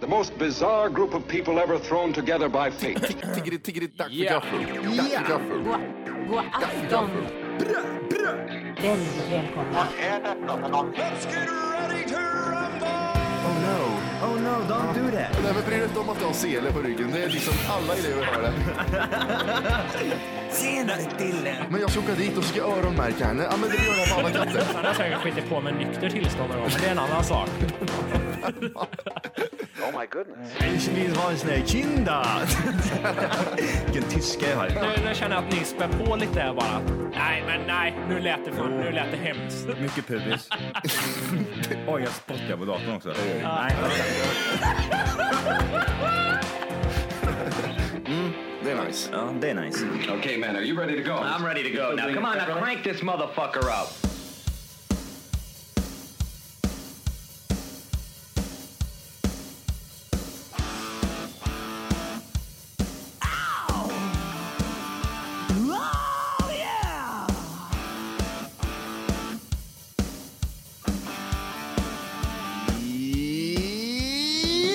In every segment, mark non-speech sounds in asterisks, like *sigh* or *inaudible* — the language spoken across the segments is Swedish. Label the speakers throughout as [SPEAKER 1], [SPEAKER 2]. [SPEAKER 1] The most bizarre group of people ever thrown together by fate.
[SPEAKER 2] Tiggeri, tiggeri, dags för
[SPEAKER 3] Ja.
[SPEAKER 2] gaffel. Dags för
[SPEAKER 4] Oh
[SPEAKER 2] gaffel.
[SPEAKER 5] God, god afton. Väldigt välkomna.
[SPEAKER 4] Oh no, oh no, don't do that.
[SPEAKER 2] Nej, men bry dig inte om att du har sele på ryggen. Det är liksom alla elever har det.
[SPEAKER 4] Senare killen.
[SPEAKER 2] Men jag ska åka dit och ska öronmärka henne. Ja, men det gör jag på alla katter.
[SPEAKER 3] Han har säkert skitit på med nykter tillstånd någon gång, men det är en annan sak.
[SPEAKER 4] Ich will was ne Kinder. Vilken tyska jag har.
[SPEAKER 3] Nu, nu känner jag att ni spär på lite här bara. Nej, men nej, nu lät det för, nu lät det hemskt.
[SPEAKER 6] Mycket pubis. Oj, jag spottar på datorn också.
[SPEAKER 2] Det är nice.
[SPEAKER 6] Ja, det är nice.
[SPEAKER 1] okay, man, are you ready to go?
[SPEAKER 7] I'm ready to go. Now, come on, now crank this motherfucker up.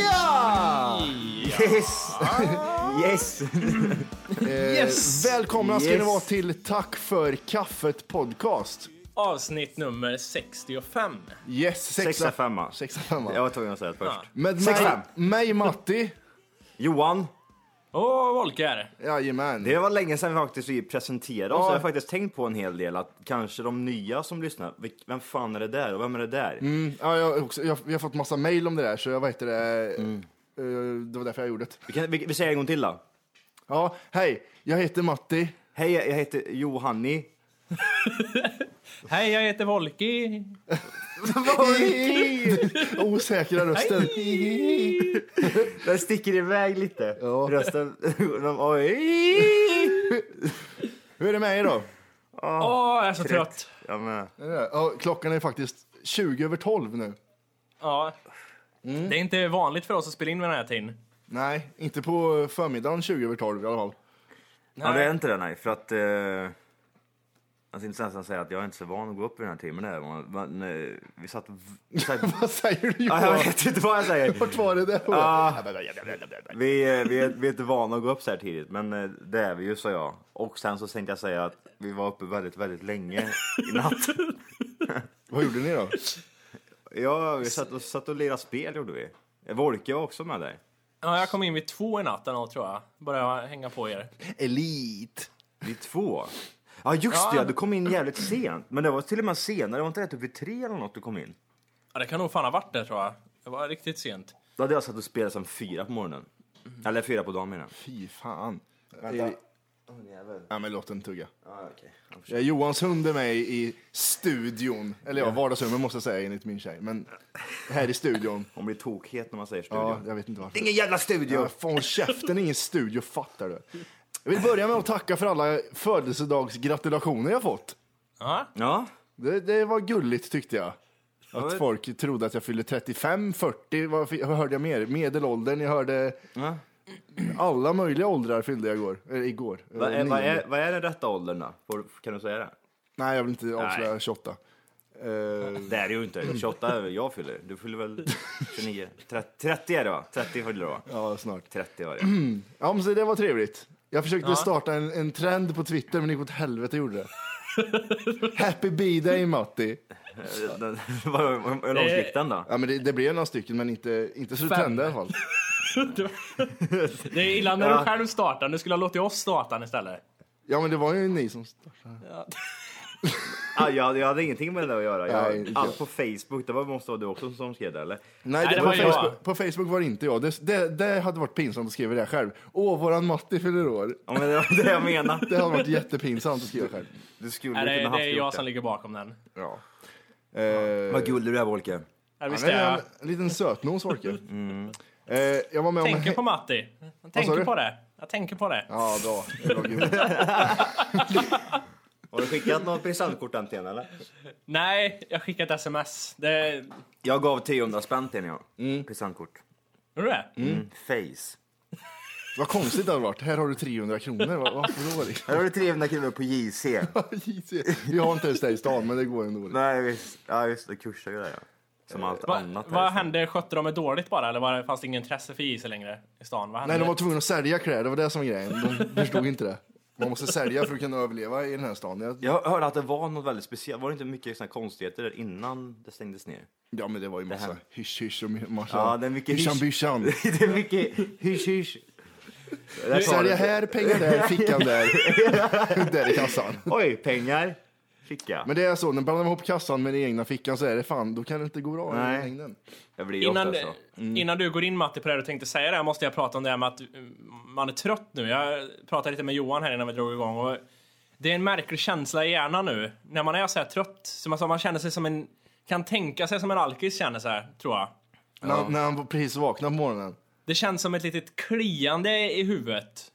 [SPEAKER 2] Ja!
[SPEAKER 4] Yes! yes!
[SPEAKER 2] Yes! Välkomna ska ni vara till Tack för kaffet podcast.
[SPEAKER 3] Avsnitt nummer 65.
[SPEAKER 2] Yes, sexa.
[SPEAKER 6] 6-5.
[SPEAKER 2] Sexa femma.
[SPEAKER 6] Jag var tvungen att säga det först.
[SPEAKER 2] Med mig,
[SPEAKER 6] Sexa.
[SPEAKER 2] mig, Matti.
[SPEAKER 6] Johan,
[SPEAKER 3] Åh, Volker.
[SPEAKER 2] Jajamän.
[SPEAKER 6] det var länge sedan vi faktiskt presenterade oss.
[SPEAKER 2] Ja.
[SPEAKER 6] Jag har faktiskt tänkt på en hel del att kanske de nya som lyssnar, vilk- vem fan är det där och vem är det där?
[SPEAKER 2] Ja, jag, har också, jag, vi har fått massa mail om det där, så jag vet det.
[SPEAKER 6] Mm.
[SPEAKER 2] eh, det var därför jag gjorde det.
[SPEAKER 6] Vi, kan, vi, vi säger en gång till då.
[SPEAKER 2] Ja, hej, jag heter Matti.
[SPEAKER 6] Hej, jag heter Johanni.
[SPEAKER 3] Hej, jag heter Volki.
[SPEAKER 2] *laughs* Osäkra rösten.
[SPEAKER 6] Den sticker iväg lite.
[SPEAKER 2] Ja.
[SPEAKER 6] *laughs* Rösten... de, oj.
[SPEAKER 2] Hur är det med er då?
[SPEAKER 3] Åh, jag är så trött.
[SPEAKER 6] Ja, men,
[SPEAKER 2] Är det det? Ja, klockan är faktiskt 20 över 12 nu.
[SPEAKER 3] Ja. Det är inte vanligt för oss att spela in vid den här tiden.
[SPEAKER 2] Nej, inte på förmiddagen 20 över 12 i alla fall. *laughs*
[SPEAKER 6] ja, det är inte det, nej. För att... Eh, alltså, inte så att säga att jag är inte så van att gå upp i den här timmen. Där. Man, man, eh, vi satt... Vi satt
[SPEAKER 2] Vad säger du
[SPEAKER 6] ja,
[SPEAKER 2] Johan?
[SPEAKER 6] jag vet inte vad jag säger.
[SPEAKER 2] Vart var det där?
[SPEAKER 6] Ah. Vi, eh, vi, är, vi är inte vana att gå upp så här tidigt, men eh, det är vi ju, sa jag. Och sen så tänkte jag säga att vi var uppe väldigt, väldigt länge i natt.
[SPEAKER 2] Vad gjorde ni då?
[SPEAKER 6] Ja, vi satt och, satt och lirade spel gjorde vi. Volke var också med där.
[SPEAKER 3] Ja, jag kom in vid två i natten och tror jag. Började hänga på er.
[SPEAKER 2] Elit.
[SPEAKER 6] Vi två. Ja just det, ja, du kom in jävligt sent. Men det var till och med senare, var inte det typ vid tre eller något du kom in?
[SPEAKER 3] Ja, det kan nog fan ha varit det tror jag. Det var riktigt sent.
[SPEAKER 6] Då hade jag satt och spelat sen fyra på morgonen. Eller fyra på dagen menar jag.
[SPEAKER 2] Fy fan.
[SPEAKER 6] Vänta.
[SPEAKER 2] Ja, men låt den tugga. Ja, Johans hund är med i studion. Eller ja, vardagsrummet måste jag säga enligt min tjej. Men här i
[SPEAKER 6] *laughs*
[SPEAKER 2] studion.
[SPEAKER 6] Hon blir tokhet när man säger studio.
[SPEAKER 2] Ja, jag vet inte
[SPEAKER 6] Det
[SPEAKER 2] varför.
[SPEAKER 6] är ingen jävla studio!
[SPEAKER 2] Ja, fan käften, ingen studio, fattar du? Jag vill börja med att tacka för alla födelsedagsgratulationer jag fått.
[SPEAKER 3] Ja,
[SPEAKER 6] Ja,
[SPEAKER 2] Det, det var gulligt tyckte jag.
[SPEAKER 6] Ja,
[SPEAKER 2] Att
[SPEAKER 6] det-
[SPEAKER 2] folk trodde att jag fyllde 35, 40, vad fi- vad hörde jag mer? Medelåldern, jag hörde
[SPEAKER 6] Ja.
[SPEAKER 2] alla möjliga åldrar fyllde jag igår. Eller igår.
[SPEAKER 6] vad är,
[SPEAKER 2] Eh,
[SPEAKER 6] vad
[SPEAKER 2] nionde.
[SPEAKER 6] är, vad är den rätta åldern då? Får- Kan du säga det?
[SPEAKER 2] Nej, jag vill inte avslöja
[SPEAKER 6] Nej.
[SPEAKER 2] 28. Eh,
[SPEAKER 6] Det är det ju inte. 28 är väl jag fyller. Du fyller väl 29? 30, 30 är det va? 30 fyller du va?
[SPEAKER 2] ja, snart.
[SPEAKER 6] 30 var det.
[SPEAKER 2] Ja, men så det var trevligt. Jag försökte starta en, en trend på Twitter, men det gick åt helvete gjorde det. Happy B-day, Matti.
[SPEAKER 6] Eh, den- vad- vad- Hur långt gick den då?
[SPEAKER 2] Ja, men det, det blev några stycken, men inte, inte så det
[SPEAKER 3] Fem.
[SPEAKER 2] tände i alla fall.
[SPEAKER 3] det är illa när
[SPEAKER 6] Ja.
[SPEAKER 3] du själv startar. Du skulle ha låtit oss starta den istället.
[SPEAKER 2] Ja, men det var ju ni som startade.
[SPEAKER 6] Ah, jag, jag hade ingenting med det att göra.
[SPEAKER 2] Nej,
[SPEAKER 6] Jag,
[SPEAKER 2] inte
[SPEAKER 6] allt på Facebook, det var, måste vara du också som skrev det eller?
[SPEAKER 2] Nej,
[SPEAKER 3] Nej,
[SPEAKER 2] det
[SPEAKER 3] det
[SPEAKER 2] på,
[SPEAKER 3] var jag.
[SPEAKER 2] Facebook, på Facebook var det inte jag. Det, det, det hade varit pinsamt att skriva det själv. Åh, våran Matti fyller år.
[SPEAKER 6] Ja, men det var det jag menade.
[SPEAKER 2] Det hade varit jättepinsamt att skriva själv.
[SPEAKER 6] Du skulle
[SPEAKER 3] Nej, det,
[SPEAKER 6] kunna
[SPEAKER 3] det
[SPEAKER 6] haft
[SPEAKER 3] är
[SPEAKER 6] gjort
[SPEAKER 3] jag
[SPEAKER 6] det.
[SPEAKER 3] som ligger bakom den.
[SPEAKER 2] Ja.
[SPEAKER 6] Vad gullig du är Volke.
[SPEAKER 3] Ja, visst
[SPEAKER 2] Han
[SPEAKER 3] är jag.
[SPEAKER 2] Eh, är en liten sötnos, Folke. Eh, jag var med om...
[SPEAKER 3] Tänker på Matti.
[SPEAKER 2] du?
[SPEAKER 3] Jag tänker på det. Jag tänker på det.
[SPEAKER 2] Ja, bra. Det var gulligt.
[SPEAKER 6] Har du skickat något presentkort än till henne eller?
[SPEAKER 3] Nej, jag skickade ett sms. Det...
[SPEAKER 6] Jag gav 300 spänn till henne ja. Presentkort.
[SPEAKER 3] Gjorde du det?
[SPEAKER 6] Mm. Face.
[SPEAKER 2] Vad konstigt det hade varit. Här har du 300 kronor. Vad- Varför *laughs* då? liksom?
[SPEAKER 6] Här har du 300 kronor på JC. *laughs*
[SPEAKER 2] Vi har inte ens det i stan, men det går ändå.
[SPEAKER 6] Nej visst, ja just det, kursar ju där ja. Som allt
[SPEAKER 3] Va,
[SPEAKER 6] annat. här i
[SPEAKER 3] vad
[SPEAKER 6] stan.
[SPEAKER 3] hände? Skötte de det dåligt bara? Eller var det, fanns det ingen intresse för JC längre i stan? Vad hände?
[SPEAKER 2] Nej, de var tvungna att sälja kläder, det var det som var grejen. De förstod inte det. Man måste sälja för att kunna överleva i den här stan. Jag-
[SPEAKER 6] Jag hörde att det var något väldigt speciellt. Var det inte mycket såna konstigheter där innan det stängdes ner?
[SPEAKER 2] Ja, men det var ju massa
[SPEAKER 6] här-
[SPEAKER 2] hysch-hysch och massa...
[SPEAKER 6] Ja, det är mycket
[SPEAKER 2] hyschan
[SPEAKER 6] hysch.
[SPEAKER 2] byschan.
[SPEAKER 6] *laughs* det är mycket hysch hysch. Där sa
[SPEAKER 2] Sälja
[SPEAKER 6] det.
[SPEAKER 2] här, pengar
[SPEAKER 6] *laughs*
[SPEAKER 2] där, fickan där. där i kassan.
[SPEAKER 6] Oj, pengar. Ficka.
[SPEAKER 2] Men det är så, när man blandar ihop kassan med den egna fickan så är det fan, då kan det inte gå bra
[SPEAKER 6] Nej.
[SPEAKER 2] i längden.
[SPEAKER 6] jag blir ju
[SPEAKER 3] Innan,
[SPEAKER 6] ofta så.
[SPEAKER 3] innan du går in Matti på det här och tänkte säga det här måste jag prata om det här med att eh, man är trött nu. Jag pratade lite med Johan här innan vi drog igång och det är en märklig känsla i hjärnan nu när man är så här trött. Som alltså man känner sig som en, kan tänka sig som en alkis känner sig, tror jag.
[SPEAKER 2] När, han- när han precis vaknar på morgonen.
[SPEAKER 3] Det känns som ett litet kliande i huvudet.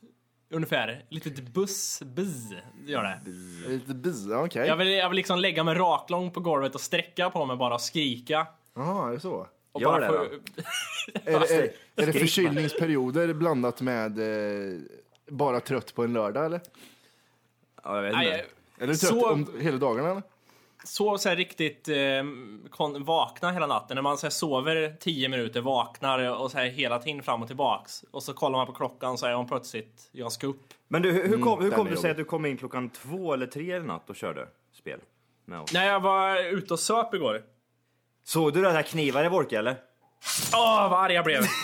[SPEAKER 3] Ungefär. Litet buss, buzz gör det.
[SPEAKER 2] Lite bi, ja, okej.
[SPEAKER 3] Jag vill, jag vill liksom lägga mig raklång på golvet och sträcka på mig bara och skrika.
[SPEAKER 2] Jaha, är det så?
[SPEAKER 3] Och
[SPEAKER 6] Gör
[SPEAKER 3] bara
[SPEAKER 6] det
[SPEAKER 3] få-
[SPEAKER 6] då.
[SPEAKER 2] Är det, är, är det förkylningsperioder blandat med eh, bara trött på en lördag eller?
[SPEAKER 6] Ja, jag vet inte.
[SPEAKER 3] Nej,
[SPEAKER 2] Är du trött
[SPEAKER 3] Så-
[SPEAKER 2] om, hela dagarna eller?
[SPEAKER 3] sov så här riktigt eh, kon- vakna hela natten. När man så här sover 10 minuter, vaknar och så här hela tiden fram och tillbaks. Och så kollar man på klockan så är hon plötsligt, jag ska upp.
[SPEAKER 6] Men du, hur, hur kom, hur
[SPEAKER 2] den
[SPEAKER 6] kom
[SPEAKER 2] är
[SPEAKER 6] det sig
[SPEAKER 2] jobbig.
[SPEAKER 6] att du kom in klockan två eller tre i natt och körde spel? Med oss?
[SPEAKER 3] När jag var ute och söp igår.
[SPEAKER 6] Såg du det där knivar i Wolke eller?
[SPEAKER 3] Åh, vad arg jag blev!
[SPEAKER 6] *laughs*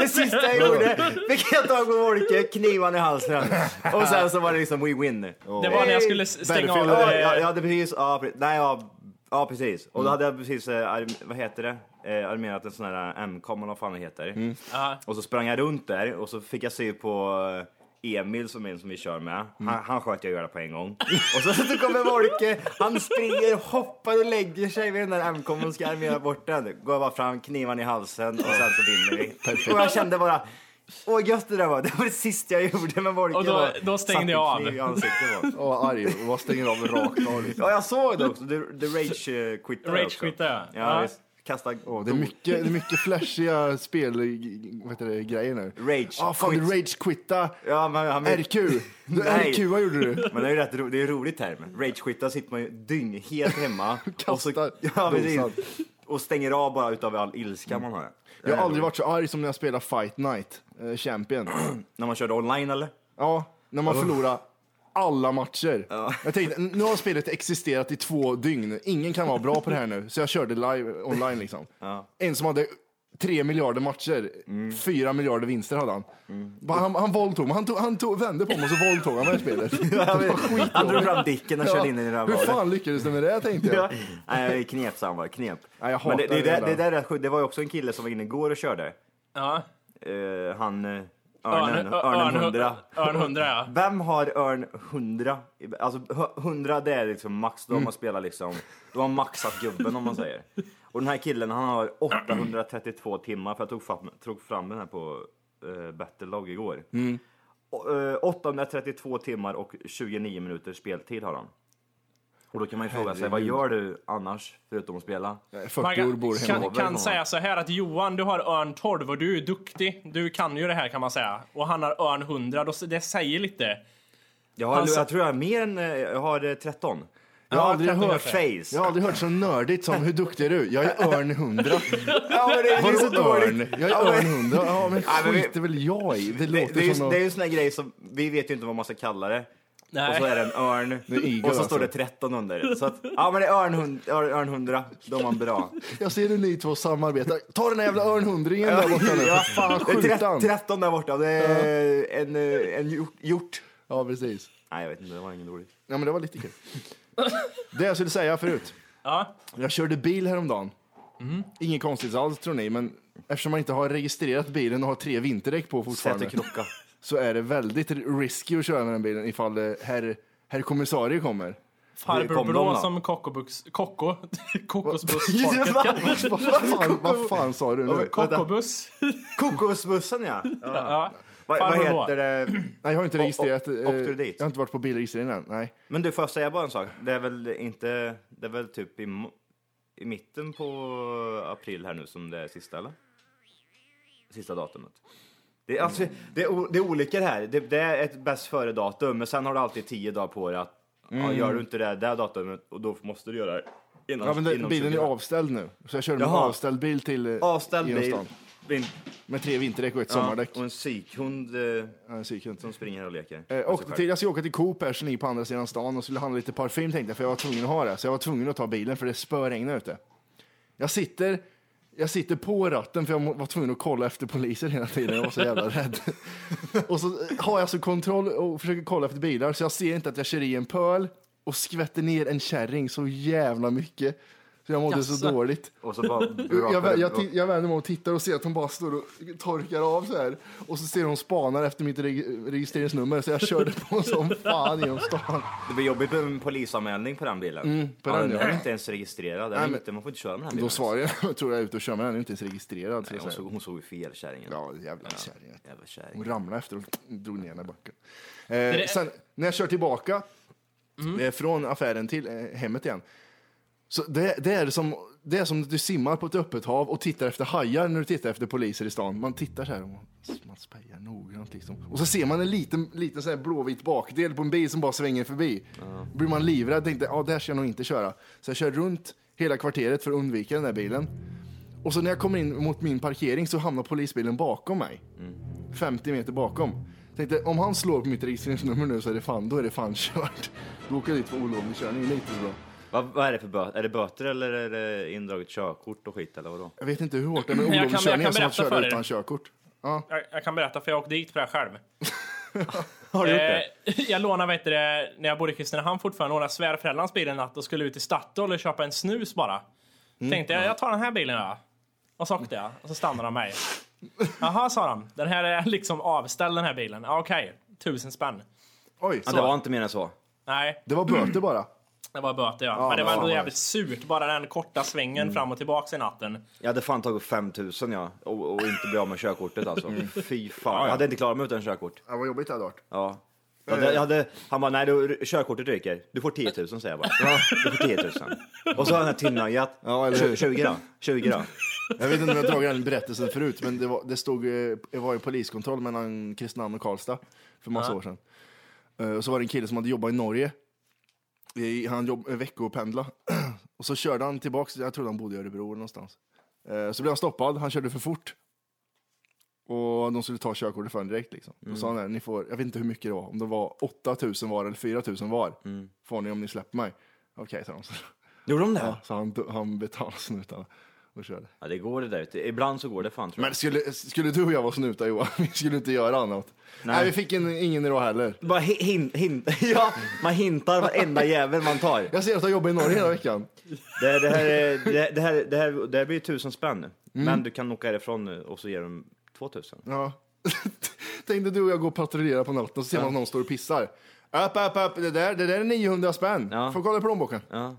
[SPEAKER 6] Det *laughs* sista
[SPEAKER 3] *laughs*
[SPEAKER 6] jag gjorde *laughs* fick jag tag på Wolke, knivan i halsen. Och sen så var det liksom win-win.
[SPEAKER 3] Det var när jag skulle s- stänga av...
[SPEAKER 2] Battlefield,
[SPEAKER 6] Ja,
[SPEAKER 3] eh,
[SPEAKER 6] jag, jag hade precis, ja, pre- nej, ja, ja precis. Och då hade jag precis, eh, arm- vad heter det, eh, armerat en sån här MCOM eller vad fan det heter.
[SPEAKER 3] ja.
[SPEAKER 6] Och så sprang jag runt där och så fick jag se på eh, Emil som är en som vi kör med. Han, han sköt jag i örat på en gång. och så, *laughs* så kommer Wolke, han springer, hoppar och lägger sig vid den där MCOM och ska armera bort den. Går jag bara fram, knivan i halsen och sen så vinner vi. Och jag kände bara, åh gött det där var. Det var det sista jag gjorde med Wolke.
[SPEAKER 3] Och då-
[SPEAKER 6] bara.
[SPEAKER 3] då stängde
[SPEAKER 6] Satte
[SPEAKER 3] jag av.
[SPEAKER 6] kniv i ansiktet på honom.
[SPEAKER 3] *laughs*
[SPEAKER 2] Ja, arg och bara stänger av rakt av. liksom.
[SPEAKER 6] Ja, jag såg det också. Du, du rage-quittade
[SPEAKER 3] Rage
[SPEAKER 6] också.
[SPEAKER 3] quittade jag.
[SPEAKER 6] Ja,
[SPEAKER 3] Ja.
[SPEAKER 6] visst. Kasta...
[SPEAKER 2] Åh, det, är mycket, det är mycket flashiga spel, vad heter det, grejer nu.
[SPEAKER 6] Rage
[SPEAKER 2] Ja, fan du
[SPEAKER 6] quit.
[SPEAKER 2] rage-quitta.
[SPEAKER 6] Ja, men, han vill-
[SPEAKER 2] RQ. Du
[SPEAKER 6] Nej.
[SPEAKER 2] RQ, vad gjorde du?
[SPEAKER 6] Men det är ju rätt ro, det är en rolig term. Rage-quitta sitter man ju dynghet hemma. och, så,
[SPEAKER 2] *laughs* Kastar
[SPEAKER 6] ja, precis.
[SPEAKER 2] dosan.
[SPEAKER 6] och stänger av bara utav all ilska man har.
[SPEAKER 2] Jag har aldrig varit så arg som när jag spelade Fight Night, eh, Champion.
[SPEAKER 6] När man körde online eller?
[SPEAKER 2] Ja, när man förlorar alla matcher. Jag tänkte, nu har spelet existerat i två dygn. Ingen kan vara bra på det här nu. Så jag körde live online liksom. En som hade tre miljarder matcher,
[SPEAKER 6] Mm.
[SPEAKER 2] fyra miljarder vinster hade han. Bara, Han, han våldtog mig. Han, tog, han tog, vände på mig och så våldtog han mig i
[SPEAKER 6] *laughs*
[SPEAKER 2] spelet.
[SPEAKER 6] Han drog fram dicken och körde in den i
[SPEAKER 2] Ja, Hur
[SPEAKER 6] rövhålet.
[SPEAKER 2] fan lyckades du med det tänkte jag.
[SPEAKER 6] Ja. Nej, knep sa han bara. Knep.
[SPEAKER 2] Nej, jag
[SPEAKER 6] Men det,
[SPEAKER 2] hatar
[SPEAKER 6] det,
[SPEAKER 2] det
[SPEAKER 6] det,
[SPEAKER 2] där.
[SPEAKER 6] det, där är sjukt. det var ju också en kille som var inne igår och körde.
[SPEAKER 3] Ja.
[SPEAKER 6] Eh, han... eh,
[SPEAKER 3] Örn,
[SPEAKER 6] Örnen.
[SPEAKER 3] ö- örn,
[SPEAKER 6] Örnen 100.
[SPEAKER 3] Örn 100, ja.
[SPEAKER 6] Vem har Örn 100? Alltså hö- 100 det är liksom max, då har man spelat liksom, då har man maxat gubben om man säger. Och den här killen han har 832 timmar för jag tog fram, tog fram den här på uh, Battlelog igår. Och, eh, 832 timmar och 29 minuter speltid har han. Och då kan man ju fråga sig, vad gör du annars förutom att spela?
[SPEAKER 2] Jag är
[SPEAKER 3] Man
[SPEAKER 2] 40 år
[SPEAKER 3] kan,
[SPEAKER 2] bor hemma.
[SPEAKER 3] kan,
[SPEAKER 6] Varberg,
[SPEAKER 3] kan
[SPEAKER 6] va?
[SPEAKER 3] säga så här att Johan, du har örn 12 och du är duktig. Du kan ju det här kan man säga. Och han har örn 100, då, det säger lite.
[SPEAKER 6] Jag, har,
[SPEAKER 3] Han sa-
[SPEAKER 6] jag tror jag har mer än, eh, jag har eh, 13. Jag
[SPEAKER 2] har
[SPEAKER 6] har
[SPEAKER 2] aldrig
[SPEAKER 6] aldrig hört
[SPEAKER 3] hört
[SPEAKER 6] face.
[SPEAKER 2] Jag har aldrig hört så nördigt som, hur duktig är du? Jag
[SPEAKER 6] *laughs*
[SPEAKER 2] är Örn 100.
[SPEAKER 6] Ja, men det, det är så
[SPEAKER 2] Vadå Örn?
[SPEAKER 6] dåligt.
[SPEAKER 2] Jag
[SPEAKER 6] Ja,
[SPEAKER 2] är
[SPEAKER 6] men-
[SPEAKER 2] Örn 100. Ja, men
[SPEAKER 6] Ja, men vi-
[SPEAKER 2] skiter väl jag i. Det
[SPEAKER 6] Det, det, är
[SPEAKER 2] låter som
[SPEAKER 6] ju, det är
[SPEAKER 2] något...
[SPEAKER 6] ju en sån här grej som, vi vet ju inte vad man ska kalla det.
[SPEAKER 3] Nej.
[SPEAKER 6] Och så är det en örn
[SPEAKER 2] är igel
[SPEAKER 6] och så
[SPEAKER 2] alltså.
[SPEAKER 6] står det 13 under. Så att, ja men det är örn, hund- örn, örn 100, då är man bra.
[SPEAKER 2] Jag ser hur ni två samarbetar. Ta den här jävla örnhundringen där borta nu. För fan,
[SPEAKER 6] Det
[SPEAKER 2] skjut
[SPEAKER 6] är
[SPEAKER 2] han.
[SPEAKER 6] trett- 13 där borta, det är en, eh, en hjort- hjort.
[SPEAKER 2] Ja, precis.
[SPEAKER 6] Nej jag vet inte, det var ingen rolig.
[SPEAKER 2] Ja, men det var lite kul. Det jag skulle säga förut.
[SPEAKER 3] Ja.
[SPEAKER 2] Jag körde bil häromdagen. Inget konstigt alls tror ni, men eftersom man inte har registrerat bilen och har tre vinterdäck på
[SPEAKER 6] Sätt
[SPEAKER 2] fortfarande
[SPEAKER 6] och krocka.
[SPEAKER 2] så är det väldigt risky att köra med den bilen ifall eh, herr, herr kommissarie *laughs* kommer.
[SPEAKER 3] Farbror
[SPEAKER 6] kom de
[SPEAKER 3] Blå
[SPEAKER 6] då?
[SPEAKER 3] som Kockobux... *laughs* Kocko... Kockosbuss.
[SPEAKER 6] *laughs*
[SPEAKER 2] Vad fan, vad fan sa du nu?
[SPEAKER 3] Kockobuss.
[SPEAKER 6] Kokosbussen ja. ja.
[SPEAKER 3] *laughs* Ja.
[SPEAKER 6] Vad vad
[SPEAKER 3] Farbror Blå.
[SPEAKER 6] heter det?
[SPEAKER 2] Nej, jag har inte
[SPEAKER 6] Och-
[SPEAKER 2] registrerat.
[SPEAKER 6] och-
[SPEAKER 2] eh,
[SPEAKER 6] åkte du dit?
[SPEAKER 2] Jag har inte varit på bilregistreringen än. Nej.
[SPEAKER 6] Men du får jag säga bara en sak, det är väl inte, det är väl typ i, mo- i mitten på april här nu som det är sista eller? Sista datumet. Det är, alltså, det är, o- det är olika det här, det, det är ett bäst före datum men sen har du alltid tio dagar på dig att ja, gör du inte det det här datumet och då måste du göra det
[SPEAKER 2] Mm.
[SPEAKER 6] Innan,
[SPEAKER 2] Ja, men det,
[SPEAKER 6] inom
[SPEAKER 2] bilen är
[SPEAKER 6] 24.
[SPEAKER 2] avställd nu. Så jag körde med
[SPEAKER 6] Jaha.
[SPEAKER 2] avställd bil till eh,
[SPEAKER 6] Avställd
[SPEAKER 2] genom
[SPEAKER 6] bil.
[SPEAKER 2] stan.
[SPEAKER 6] Bin,
[SPEAKER 2] Med tre vinterdäck och ett
[SPEAKER 6] ja,
[SPEAKER 2] sommardäck.
[SPEAKER 6] och en psykhund eh,
[SPEAKER 2] Ja, en psykhund.
[SPEAKER 6] som springer och leker.
[SPEAKER 2] Eh,
[SPEAKER 6] med sig
[SPEAKER 2] och
[SPEAKER 6] själv.
[SPEAKER 2] till, jag ska åka till Coop här som ligger på andra sidan stan och skulle handla lite parfym tänkte jag, för jag var tvungen att ha det. Så jag var tvungen att ta bilen för det spöregnade ute. Jag sitter, jag sitter på ratten för jag må- var tvungen att kolla efter poliser hela tiden. Jag var så jävla rädd. *laughs* och så eh, har jag så kontroll och försöker kolla efter bilar så jag ser inte att jag kör i en pöl och skvätter ner en kärring så jävla mycket. Så jag mådde
[SPEAKER 3] Jaså.
[SPEAKER 2] så dåligt.
[SPEAKER 6] Och så bara
[SPEAKER 2] *laughs* Jag, jag, jag,
[SPEAKER 6] och-
[SPEAKER 2] ti- jag vänder mig om och tittar och ser att hon bara står och torkar av så här. Och så ser hon spanar efter mitt reg- registreringsnummer så jag körde på *laughs* som fan genom stan.
[SPEAKER 6] Det blir jobbigt med en polisanmälning på den bilen.
[SPEAKER 2] Mm, på
[SPEAKER 6] ja,
[SPEAKER 2] den, ja.
[SPEAKER 6] är inte ens registrerad. Den är
[SPEAKER 2] men-
[SPEAKER 6] inte, man får inte köra med den bilen.
[SPEAKER 2] Då svarar jag, *laughs* tror jag är ute och kör men den är ju inte ens registrerad. Så
[SPEAKER 6] Nej,
[SPEAKER 2] jag
[SPEAKER 6] hon,
[SPEAKER 2] säger,
[SPEAKER 6] såg, hon såg ju fel kärringen.
[SPEAKER 2] ja, jävla kärring.
[SPEAKER 6] Jävla
[SPEAKER 2] Hon
[SPEAKER 6] kärring.
[SPEAKER 2] ramlade efter och drog ner henne i backen.
[SPEAKER 3] det-
[SPEAKER 2] Eh, sen när jag kör tillbaka eh, från affären till eh, hemmet igen. Så det, det, är som, det är som att du simmar på ett öppet hav och tittar efter hajar när du tittar efter poliser i stan. Man tittar så här och man, man spejar noggrant liksom. Och så ser man en liten, liten så här blåvit bakdel på en bil som bara svänger förbi. blir man livrädd tänkte ja där ska jag nog inte köra. Så jag kör runt hela kvarteret för att undvika den där bilen. Och så när jag kommer in mot min parkering så hamnar polisbilen bakom mig. 50 meter bakom. Tänkte om han slår på mitt registreringsnummer nu så är det fan, då är det fan kört. *laughs* Då åker jag dit för olovlig körning, det är inte så bra.
[SPEAKER 6] Vad, vad är det för böter? Är det böter eller är det indraget körkort och skit eller vadå?
[SPEAKER 2] Jag vet inte hur hårt det är med
[SPEAKER 3] Jag
[SPEAKER 2] olovlig
[SPEAKER 3] kan- jag
[SPEAKER 2] körning,
[SPEAKER 3] kan
[SPEAKER 2] jag som att
[SPEAKER 3] berätta
[SPEAKER 2] köra
[SPEAKER 3] för er.
[SPEAKER 2] utan körkort.
[SPEAKER 3] Jag, jag kan berätta för jag åkte dit för det här själv.
[SPEAKER 6] Har du gjort det?
[SPEAKER 3] Eh, *laughs* jag lånade, vet du, det, när jag bodde i Kristinehamn fortfarande, lånade svärföräldrarnas bil en natt och skulle ut i Statoil och köpa en snus bara.
[SPEAKER 6] Mm.
[SPEAKER 3] Tänkte jag, jag tar den här bilen jag. Och så åkte jag och så stannade de mig. Jaha, sa de. Den här är liksom avställd den här bilen. Ja, Okej, tusen spänn.
[SPEAKER 2] Oj,
[SPEAKER 6] Ja, det var inte mer än så.
[SPEAKER 3] Nej,
[SPEAKER 2] det var böter bara.
[SPEAKER 3] det var böter ja. Men det
[SPEAKER 2] men
[SPEAKER 3] var
[SPEAKER 2] fan
[SPEAKER 3] ändå
[SPEAKER 2] vad
[SPEAKER 3] jävligt surt, bara den korta svängen
[SPEAKER 6] Mm.
[SPEAKER 3] fram och tillbaks i natten.
[SPEAKER 6] Jag hade fan tagit 5000 ja, och, och inte bli av med körkortet alltså.
[SPEAKER 2] Mm.
[SPEAKER 6] Fy fan, jag hade inte klarat mig utan körkort.
[SPEAKER 2] Ja, vad jobbigt det hade varit.
[SPEAKER 6] Ja. Jag hade, jag hade, han bara, nej du, körkortet ryker. Du får 10 000 säger jag bara. Ja, du får 10 000. Och så har han tillnöjat.
[SPEAKER 2] Ja, eller hur?
[SPEAKER 6] 20 då? 20 då?
[SPEAKER 2] Jag vet inte om jag har dragit den berättelsen förut, men det var, det stod, eh, det var ju poliskontroll mellan Kristinehamn och Karlstad för massa år sedan. Eh, Och så var det en kille som hade jobbat i Norge. I- Han jobb, eh, veckopendla. *clears throat* Och så körde han tillbaks, jag trodde han bodde i Örebro eller någonstans. Eh, Så blev han stoppad, han körde för fort. Och de skulle ta körkortet för honom direkt liksom. Då sa han där, ni får, jag vet inte hur mycket det var, om det var 8000 var eller 4000 var. Får ni om ni släpper mig. Okej, sa de. *laughs* Så,
[SPEAKER 6] Gjorde de det? Ja.
[SPEAKER 2] så han, han betalade snutarna och körde.
[SPEAKER 6] det går det där. Ibland så går det fan tror jag.
[SPEAKER 2] Men skulle, skulle du och jag vara snutar Johan, *laughs* vi skulle inte göra annat. Nej, vi fick en, ingen idag heller.
[SPEAKER 6] Bara hi- hin, hin, *laughs* ja, man hintar varenda jävel man tar.
[SPEAKER 2] Jag ser att jag jobbar i Norge hela veckan.
[SPEAKER 6] Det, det, här, är- det, det, här, det, här, det här blir ju tusen spänn.
[SPEAKER 2] Mm.
[SPEAKER 6] Men du kan åka härifrån nu och så ger de 2000.
[SPEAKER 2] Ja. *laughs* Tänkte du och jag går och patrullerar på natten och så ser man att någon står och pissar. Upp, upp, upp, det där, det där är 900 spänn.
[SPEAKER 6] Ja.
[SPEAKER 2] Får kolla i plånboken.
[SPEAKER 6] Ja.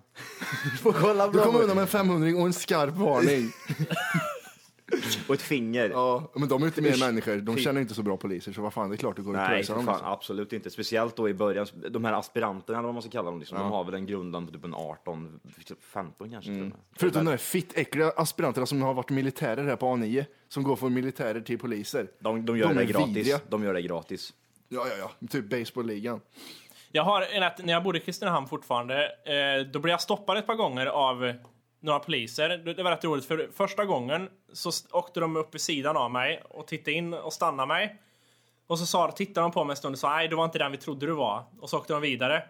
[SPEAKER 6] Får kolla
[SPEAKER 2] Du
[SPEAKER 6] bra.
[SPEAKER 2] kommer undan med en 500 och en skarp varning.
[SPEAKER 6] *laughs* Och ett finger.
[SPEAKER 2] Ja, men de är inte mer människor, de känner inte så bra poliser så vad fan, det är klart det går att
[SPEAKER 6] Nej,
[SPEAKER 2] pröjsa
[SPEAKER 6] för
[SPEAKER 2] dem. alltså.
[SPEAKER 6] fan, absolut inte. Speciellt då i början, de här aspiranterna eller vad man ska kalla dem, liksom, de har väl en grundan på typ en 18, 15 kanske.
[SPEAKER 2] Mm.
[SPEAKER 6] Till och med.
[SPEAKER 2] Förutom de där fittäckliga aspiranterna som har varit militärer här på A9, som går från militärer till poliser.
[SPEAKER 6] de, de gör
[SPEAKER 2] De
[SPEAKER 6] det
[SPEAKER 2] är
[SPEAKER 6] gratis.
[SPEAKER 2] vidriga.
[SPEAKER 6] De gör det gratis.
[SPEAKER 2] Ja, ja, ja, typ baseballligan.
[SPEAKER 3] Jag har en att när jag bodde i Kristinehamn fortfarande, eh, då blev jag stoppad ett par gånger av några poliser. Det det var rätt roligt, för första gången så s- åkte de upp vid sidan av mig och tittade in och stannade mig. Och så sa, tittade de på mig en stund och sa nej, du var inte den vi trodde du var. Och så åkte de vidare.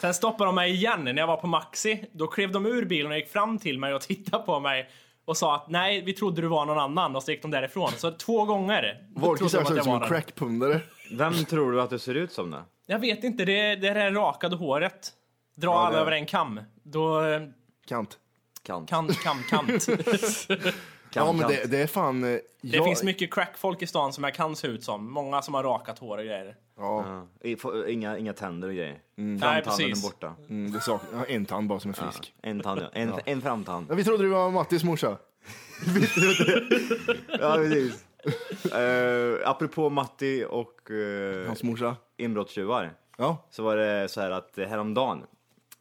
[SPEAKER 3] Sen stoppade de mig igen när jag var på Maxi. Då klev de ur bilen och gick fram till mig och *laughs* tittade på mig och sa att nej, vi trodde du var någon annan och så gick de därifrån. Så två gånger
[SPEAKER 2] Volker
[SPEAKER 3] trodde de
[SPEAKER 2] ser
[SPEAKER 3] att
[SPEAKER 2] ut
[SPEAKER 3] jag
[SPEAKER 2] som liksom
[SPEAKER 3] var
[SPEAKER 2] en
[SPEAKER 3] den.
[SPEAKER 2] crackpundare.
[SPEAKER 6] Vem tror du att det ser ut som då?
[SPEAKER 3] Jag vet inte, det, det är det rakade håret. Dra alla över en kam. Då eh,
[SPEAKER 2] Kant.
[SPEAKER 6] Kant.
[SPEAKER 3] kan,
[SPEAKER 6] *laughs*
[SPEAKER 3] kam, kant.
[SPEAKER 2] Ja, men det, det är fan... eh,
[SPEAKER 3] Det
[SPEAKER 2] jag-
[SPEAKER 3] finns mycket crackfolk i stan som jag kan se ut som. Många som har rakat hår och grejer.
[SPEAKER 6] Ja. I- få- Inga, inga tänder och grejer.
[SPEAKER 3] Nej,
[SPEAKER 6] Tanden är
[SPEAKER 3] precis.
[SPEAKER 6] borta.
[SPEAKER 2] Mm, det sak, ja, en tand bara som är frisk.
[SPEAKER 6] En tand, ja. en, en framtand.
[SPEAKER 2] Ja, vi trodde du var Mattis morsa.
[SPEAKER 6] Ja, precis. *laughs* Eh, apropå Matti och uh,
[SPEAKER 2] Hans morsa.
[SPEAKER 6] inbrottstjuvar.
[SPEAKER 2] Ja.
[SPEAKER 6] så var det så här att häromdagen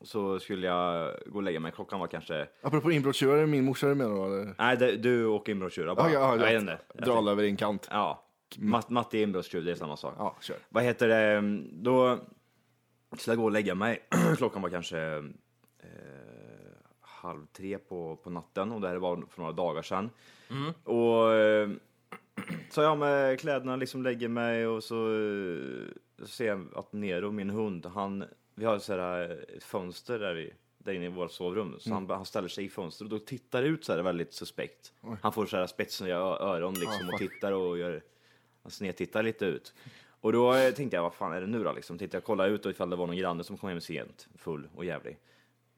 [SPEAKER 6] så skulle jag gå och lägga mig. Klockan var kanske...
[SPEAKER 2] Apropå inbrottstjuvar, är det min morsa du menar då? eller?
[SPEAKER 6] Nej, det- du och inbrottstjuvar bara.
[SPEAKER 2] Ja, ja,
[SPEAKER 6] jag
[SPEAKER 2] ja.
[SPEAKER 6] vet inte.
[SPEAKER 2] Dra alla över en kant.
[SPEAKER 6] Ja. Matt, Matti är inbrottstjuv, det är samma sak.
[SPEAKER 2] Ja, kör.
[SPEAKER 6] Vad heter det? *clears throat* Då skulle jag gå och lägga mig. Klockan var kanske eh, halv tre på, på natten och det här var för några dagar sedan. Och eh, så jag med kläderna, liksom lägger mig och så, eh, så ser jag att Nero, min hund, han, vi har så här eh, ett fönster där vi där inne i vårt sovrum, så han, han ställer sig i fönstret och då tittar ut så här väldigt suspekt. Han får så här spetsiga ö- öron liksom och tittar och gör han snedtittar lite ut. Och då eh, tänkte jag, vad fan är det nu då? Liksom, tittade jag kollade ut och ifall det var någon granne som kom hem sent, full och jävlig.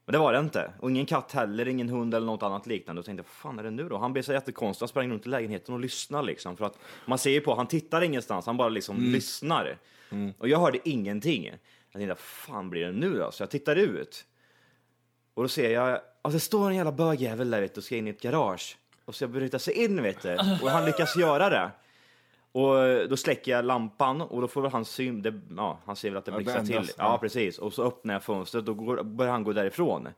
[SPEAKER 6] Men det var det inte. Och ingen katt heller, ingen hund eller något annat liknande. Och tänkte, jag, vad fan är det nu då? Han blev så jättekonstig, han sprang runt i lägenheten och lyssnade liksom. För att man ser ju på, han tittar ingenstans, han bara liksom lyssnar. Och jag hörde ingenting. Jag tänkte, vad fan blir det nu då? Så jag tittar ut. Och då ser jag, alltså det står en jävla bögjävel där vet du, och ska in i ett garage. Och ska bryta sig in vet du. Och han lyckas göra det. Och då släcker jag lampan och då får väl han syn, det, ja, han ser väl att det blixtrar till.
[SPEAKER 2] ändras,
[SPEAKER 6] Ja,
[SPEAKER 2] ja.
[SPEAKER 6] precis. Och så öppnar jag fönstret och går, börjar han gå därifrån.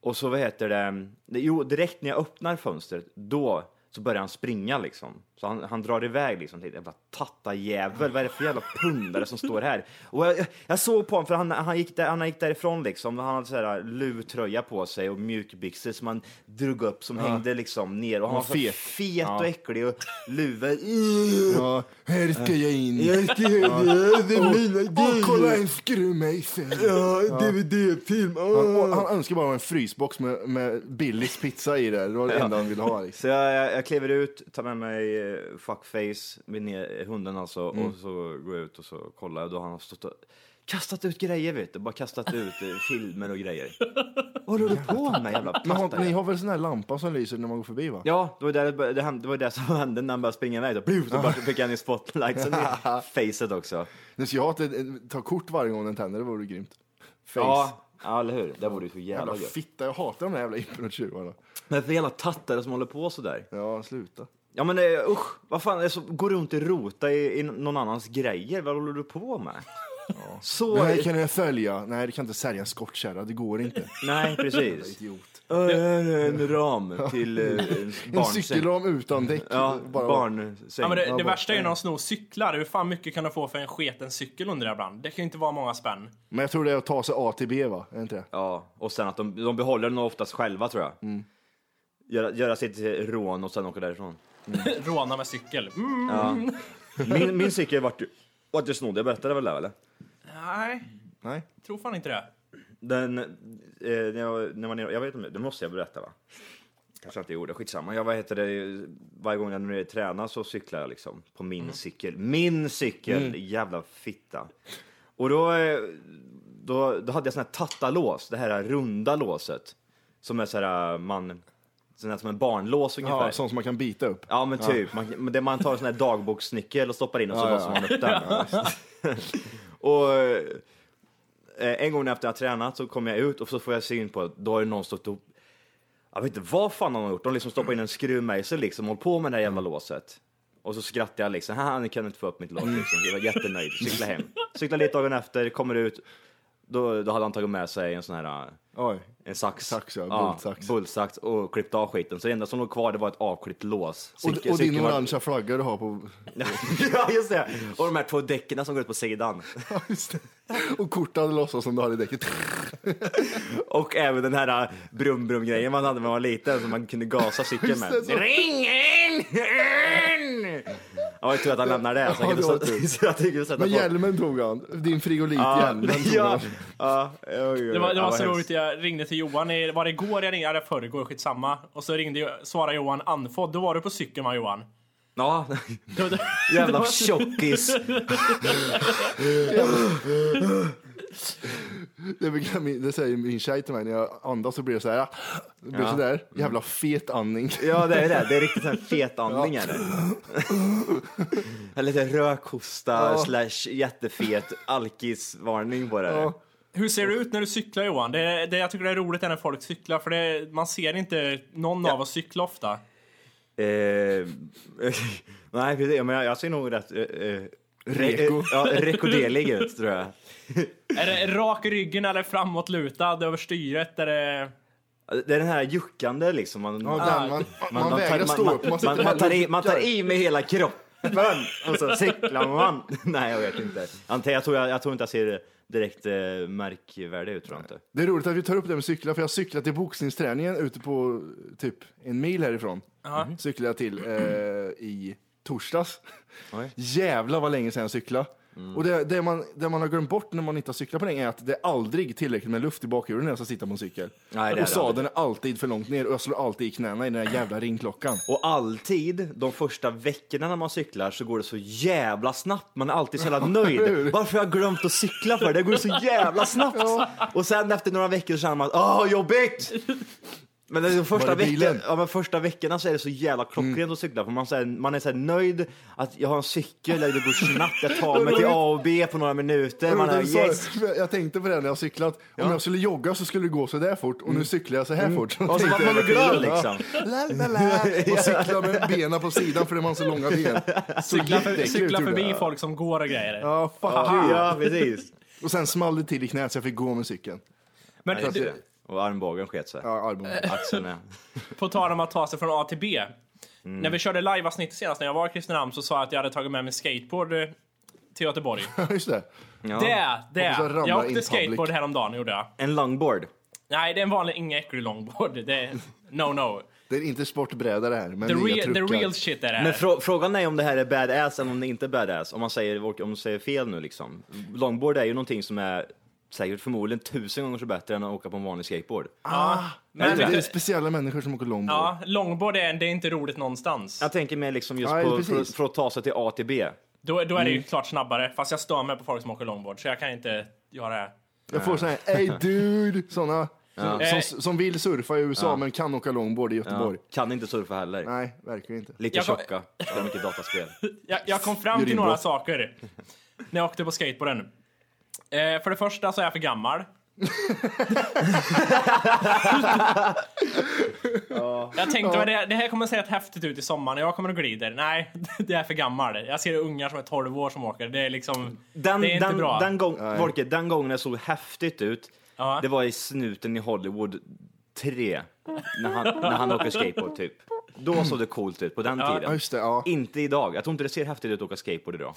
[SPEAKER 6] Och så vad heter det, jo direkt när jag öppnar fönstret, då så börjar han springa liksom. Så han, han drar iväg liksom till jävla tattarjävel, vad är det för jävla pundare som står här? Och jag, jag såg på honom för han, han, gick där, han gick därifrån liksom, han hade så här lutröja på sig och mjukbyxor som han drog upp som hängde liksom ner och han var
[SPEAKER 2] var
[SPEAKER 6] så
[SPEAKER 2] fet.
[SPEAKER 6] fet och äcklig och luven,
[SPEAKER 2] Ja, här ska jag in.
[SPEAKER 6] ska göra det, det är mina
[SPEAKER 2] Åh, kolla en skruvmejsel.
[SPEAKER 6] Ja, DVD-film,
[SPEAKER 2] Han, och han önskar bara en frysbox med, med Billys pizza i där. Det var det enda han ville ha. Liksom.
[SPEAKER 6] Så jag, jag, jag kliver ut, tar med mig eh, fuckface, med ner, hunden alltså, och så går jag ut och så kollar jag. Då har han stått och kastat ut grejer vet du, bara kastat ut eh, filmer och *laughs* grejer. Vad håller du på med jävla
[SPEAKER 2] Men har, ni
[SPEAKER 6] platta?
[SPEAKER 2] har väl sån här lampa som lyser när man går förbi va?
[SPEAKER 6] Ja, det var där det, bör- det, hände- det, var det som *laughs* hände när han började springa iväg. Då, pluff, då bara fick han i spotlightsen *laughs* i facet också.
[SPEAKER 2] Nu ska jag ha ett, ett, ta kort varje gång den tänder, det vore grymt. Face.
[SPEAKER 6] Ja, ja, eller hur? Det vore ju så jävla
[SPEAKER 2] Jävla
[SPEAKER 6] gött.
[SPEAKER 2] fitta, jag hatar de där jävla internettjuvarna.
[SPEAKER 6] Men för jävla tattare som håller på sådär.
[SPEAKER 2] Ja, sluta.
[SPEAKER 6] Ja men eh, usch, vad fan, alltså, gå runt och rota i, i någon annans grejer, vad håller du på med? Så...
[SPEAKER 2] Nej, kan jag sälja? Nej, det kan inte sälja en skottkärra, det går
[SPEAKER 6] *laughs*
[SPEAKER 2] inte. *laughs*
[SPEAKER 6] Nej, precis.
[SPEAKER 2] Idiot.
[SPEAKER 6] Ö, En ram till eh, en
[SPEAKER 2] En
[SPEAKER 6] barnsäng.
[SPEAKER 2] cykelram utan däck.
[SPEAKER 6] Ja,
[SPEAKER 2] bara-
[SPEAKER 6] barnsäng.
[SPEAKER 3] Ja, men det, det
[SPEAKER 2] bara-
[SPEAKER 3] värsta är ju när de snor cyklar. Hur fan mycket kan de få för en sketen cykel undrar jag ibland? Det kan ju inte vara
[SPEAKER 6] *laughs*
[SPEAKER 3] många spänn.
[SPEAKER 2] Men jag tror det är att ta sig A till B va? Är det inte det?
[SPEAKER 6] Ja, och sen att de, de behåller den oftast själva tror jag.
[SPEAKER 2] Mm.
[SPEAKER 6] Göra, göra sitt eh, rån och sen åka därifrån.
[SPEAKER 3] Råna med cykel. Mm.
[SPEAKER 6] Min, min cykel vart ju... Vart ju snodd, jag berättade väl det eller?
[SPEAKER 3] Nej,
[SPEAKER 2] Nej.
[SPEAKER 3] tror fan inte det.
[SPEAKER 6] Den, eh, när jag, när man, är- jag vet inte, det måste jag berätta va? Kanske inte gjorde, skitsamma. Jag, vad heter det, varje gång jag nu är tränar så cyklar jag liksom på min cykel. Min cykel! Jävla fitta. Och då, eh, då, då hade jag sån här tattalås, det här runda låset. Som är så här, eh, man, sån här som en barnlås ungefär.
[SPEAKER 2] Ja, sånt som man kan bita upp.
[SPEAKER 6] Ja men typ, man, men det, man tar en sån här dagboksnyckel och stoppar in och så
[SPEAKER 2] *laughs* Ja, ja.
[SPEAKER 6] låser man upp den. och eh, en gång efter jag tränat så kommer jag ut och så får jag syn på att då har ju någon stått upp jag vet inte vad fan de har gjort, de liksom stoppar in en skruvmejsel liksom och håller på med det här jävla
[SPEAKER 2] Mm.
[SPEAKER 6] låset. Och så skrattar jag liksom, haha ni kan inte få
[SPEAKER 2] *laughs*
[SPEAKER 6] upp mitt lås liksom. Jag var jättenöjd, cykla hem. Cykla lite dagen efter, kommer ut, då, då hade han tagit med sig en sån här
[SPEAKER 2] Oj.
[SPEAKER 6] en sax.
[SPEAKER 2] Sax, ja. Bultsax.
[SPEAKER 6] bultsax och klippte av skiten. Så det enda som låg kvar det var ett avklippt lås.
[SPEAKER 2] Och,
[SPEAKER 6] Cykel-
[SPEAKER 2] och din
[SPEAKER 6] cykeln var-
[SPEAKER 2] orangea flagga du har på...
[SPEAKER 6] *laughs*
[SPEAKER 2] *laughs*
[SPEAKER 6] ja, just det. Och de här två däcken som går ut på sidan.
[SPEAKER 2] Ja, just det. och kortade låtsas som du hade i däcket.
[SPEAKER 6] Och även den här äh, brum-brum-grejen man hade när man var liten som man kunde gasa cykeln
[SPEAKER 2] *laughs*
[SPEAKER 6] med.
[SPEAKER 2] Just det, så-
[SPEAKER 6] Ring in! in! Ja, jag tror att han lämnar det. *laughs* Så
[SPEAKER 2] Ja,
[SPEAKER 6] jag
[SPEAKER 2] det var
[SPEAKER 6] kunde
[SPEAKER 2] tur.
[SPEAKER 6] sätta, jag kunde sätta
[SPEAKER 2] Men
[SPEAKER 6] på-
[SPEAKER 2] hjälmen tog han. Din frigolit
[SPEAKER 6] Ja,
[SPEAKER 2] hjälmen tog
[SPEAKER 6] ja,
[SPEAKER 2] han.
[SPEAKER 6] ja, oj, oj, oj.
[SPEAKER 3] Det var, det
[SPEAKER 6] Ja,
[SPEAKER 3] var
[SPEAKER 6] vad
[SPEAKER 3] så
[SPEAKER 6] hemskt.
[SPEAKER 3] roligt, jag ringde till Johan, i, var det igår jag ringde? Ja, det var förrgår, skitsamma. Och så ringde, jag- svarade Johan andfådd, då var du på cykeln va Johan? *laughs*
[SPEAKER 6] Ja,
[SPEAKER 3] Det var-
[SPEAKER 6] jävla tjockis.
[SPEAKER 2] Det, brukar min- det säger min tjej till mig när jag andas så blir det så här. Det blir
[SPEAKER 6] Ja. Mm.
[SPEAKER 2] sådär. Jävla fet andning.
[SPEAKER 6] Ja, det är det. Det är riktigt en fet andning. är det. Eller lite rökhosta
[SPEAKER 2] Ja.
[SPEAKER 6] slash jättefet alkisvarning på det.
[SPEAKER 2] Ja.
[SPEAKER 3] Hur ser det ut när du cyklar Johan? Det, det, jag tycker det är roligt är när folk cyklar, för det, man ser inte någon av oss cykla ofta.
[SPEAKER 6] Eh, *laughs* nej, precis. men jag, jag ser nog rätt... Eh, eh,
[SPEAKER 2] Reko.
[SPEAKER 6] re- ja, rekodelig ut, tror jag.
[SPEAKER 3] Är det rak i ryggen eller framåtlutad över styret? Är det...
[SPEAKER 6] Det är den här juckande, liksom. Man,
[SPEAKER 2] Ja, den, man, man,
[SPEAKER 6] man
[SPEAKER 2] vägrar
[SPEAKER 6] tar-
[SPEAKER 2] stå
[SPEAKER 6] man-
[SPEAKER 2] upp. Man, sitter
[SPEAKER 6] man,
[SPEAKER 2] hellre
[SPEAKER 6] man, tar
[SPEAKER 2] och
[SPEAKER 6] i, man tar
[SPEAKER 2] duckar.
[SPEAKER 6] i med
[SPEAKER 2] *laughs*
[SPEAKER 6] hela *laughs* kroppen och så cyklar man. nej, jag vet inte. Ante, Jag tror, jag, jag tror inte jag ser direkt eh, märkvärdiga ut tror jag inte.
[SPEAKER 2] Det är roligt att vi tar upp det med cykla, för jag cyklade till boxningsträningen ute på typ en mil härifrån.
[SPEAKER 3] Mm-hmm.
[SPEAKER 2] Mm. Cyklade jag till eh, i torsdags.
[SPEAKER 6] Oj. Mm.
[SPEAKER 2] Jävlar vad länge sedan jag cyklade. Och det, det, man, det man har glömt bort när man inte har cyklat på länge är att det är aldrig tillräckligt med luft i bakhjulen när jag ska sitta på en cykel.
[SPEAKER 6] det är det
[SPEAKER 2] och sadeln är alltid för långt ner och jag slår alltid i knäna i den där jävla ringklockan.
[SPEAKER 6] Och alltid de första veckorna när man cyklar så går det så jävla snabbt. Man är alltid så jävla nöjd. Varför har jag glömt att cykla för? Det går så jävla snabbt. Och sen efter några veckor så känner man att åh, jobbigt! Men det är de första,
[SPEAKER 2] Var det bilen? Mm.
[SPEAKER 6] veckan, ja, men första veckorna så är det så jävla klockrent att cykla för man, så här, man är så här nöjd att jag har en cykel, det går snabbt, jag tar
[SPEAKER 2] *laughs*
[SPEAKER 6] mig till A och B på några minuter. Man är
[SPEAKER 2] Jag sa det,
[SPEAKER 6] yes!
[SPEAKER 2] för Jag *laughs* tänkte på det när jag cyklat. Om jag skulle jogga så skulle det gå så där fort och nu cyklar jag så här fort.
[SPEAKER 6] Och Mm. så
[SPEAKER 2] Tänkte
[SPEAKER 6] var man
[SPEAKER 2] jag
[SPEAKER 6] glad
[SPEAKER 2] hela tiden.
[SPEAKER 6] liksom.
[SPEAKER 2] La, *laughs* la,
[SPEAKER 6] *laughs*
[SPEAKER 2] la. Och cykla med benen på sidan för det man har så långa ben. Så
[SPEAKER 3] Cykla, för,
[SPEAKER 2] jätteäcklig
[SPEAKER 3] cykla
[SPEAKER 2] ut gjorde
[SPEAKER 3] förbi
[SPEAKER 2] jag.
[SPEAKER 3] folk som går och grejer.
[SPEAKER 2] Ja, fuck you.
[SPEAKER 6] Ja, precis.
[SPEAKER 2] Och sen small det till i knät så jag fick gå med cykeln.
[SPEAKER 3] Men
[SPEAKER 6] Ja, just
[SPEAKER 3] du,
[SPEAKER 6] det. Och armbågen sket sig.
[SPEAKER 2] Ja, armbågen.
[SPEAKER 6] Axeln är...
[SPEAKER 3] på tal om att ta sig från A till B.
[SPEAKER 2] Mm.
[SPEAKER 3] När vi körde liveavsnittet senast när jag var i Kristinehamn så sa jag att jag hade tagit med mig skateboard eh,
[SPEAKER 2] *laughs*
[SPEAKER 3] till Göteborg.
[SPEAKER 2] *laughs* Just det.
[SPEAKER 6] Ja.
[SPEAKER 3] Det, det!
[SPEAKER 2] Hoppas jag ramlar
[SPEAKER 3] Jag
[SPEAKER 2] in
[SPEAKER 3] åkte skateboard
[SPEAKER 2] public.
[SPEAKER 3] häromdagen gjorde jag.
[SPEAKER 6] En longboard.
[SPEAKER 3] Nej, det är en vanlig, ingen äcklig longboard. Det är,
[SPEAKER 2] *laughs*
[SPEAKER 3] no no.
[SPEAKER 2] Det är inte sportbräda det här, men
[SPEAKER 3] The,
[SPEAKER 2] nya
[SPEAKER 3] real- the
[SPEAKER 2] truckar.
[SPEAKER 3] real shit är det
[SPEAKER 6] Men
[SPEAKER 3] här.
[SPEAKER 6] frå- frågan är om det här är badass eller om det inte är badass. Om man säger, om man säger fel nu liksom. Longboard är ju någonting som är säkert förmodligen tusen gånger så bättre än att åka på en vanlig skateboard.
[SPEAKER 2] Nej,
[SPEAKER 3] Men,
[SPEAKER 2] det är
[SPEAKER 3] vet du-
[SPEAKER 2] speciella människor som åker långboard.
[SPEAKER 3] ja, longboard är, det är inte roligt någonstans.
[SPEAKER 6] Jag tänker mer liksom just
[SPEAKER 2] Ja,
[SPEAKER 6] på,
[SPEAKER 2] precis.
[SPEAKER 6] för, för att ta sig till A till B.
[SPEAKER 3] Då, då är det ju klart snabbare, fast jag stör mig på folk som åker longboard så jag kan inte göra det. här.
[SPEAKER 2] Jag får såna här, ey dude, såna som, som, som vill surfa i USA men kan åka långboard i
[SPEAKER 6] Ja.
[SPEAKER 2] Göteborg.
[SPEAKER 6] Kan inte surfa heller.
[SPEAKER 2] Nej, verkligen inte.
[SPEAKER 6] Lite
[SPEAKER 3] Jag kom- *laughs*
[SPEAKER 6] tjocka, spelar mycket dataspel.
[SPEAKER 3] Jag, jag kom fram till
[SPEAKER 2] Urinbrott.
[SPEAKER 3] några saker när jag åkte på skateboarden. Eh, för det första så är jag för gammal. Jag tänkte, men det, det här kommer se rätt häftigt ut i sommar när jag kommer och glider. Nej, *laughs* det är för gammal. Jag ser ungar som är 12 år som åker. Det är liksom,
[SPEAKER 6] Den,
[SPEAKER 3] det är inte
[SPEAKER 6] den,
[SPEAKER 3] bra.
[SPEAKER 6] Den, gång, Volke, den gången det såg häftigt ut,
[SPEAKER 3] Ja.
[SPEAKER 6] det var i Snuten i Hollywood 3. När han, när han åker skateboard typ. Då såg det coolt ut på den
[SPEAKER 2] Ja,
[SPEAKER 6] tiden.
[SPEAKER 2] just det. Ja.
[SPEAKER 6] Inte idag. Jag tror inte det ser häftigt ut att åka skateboard idag.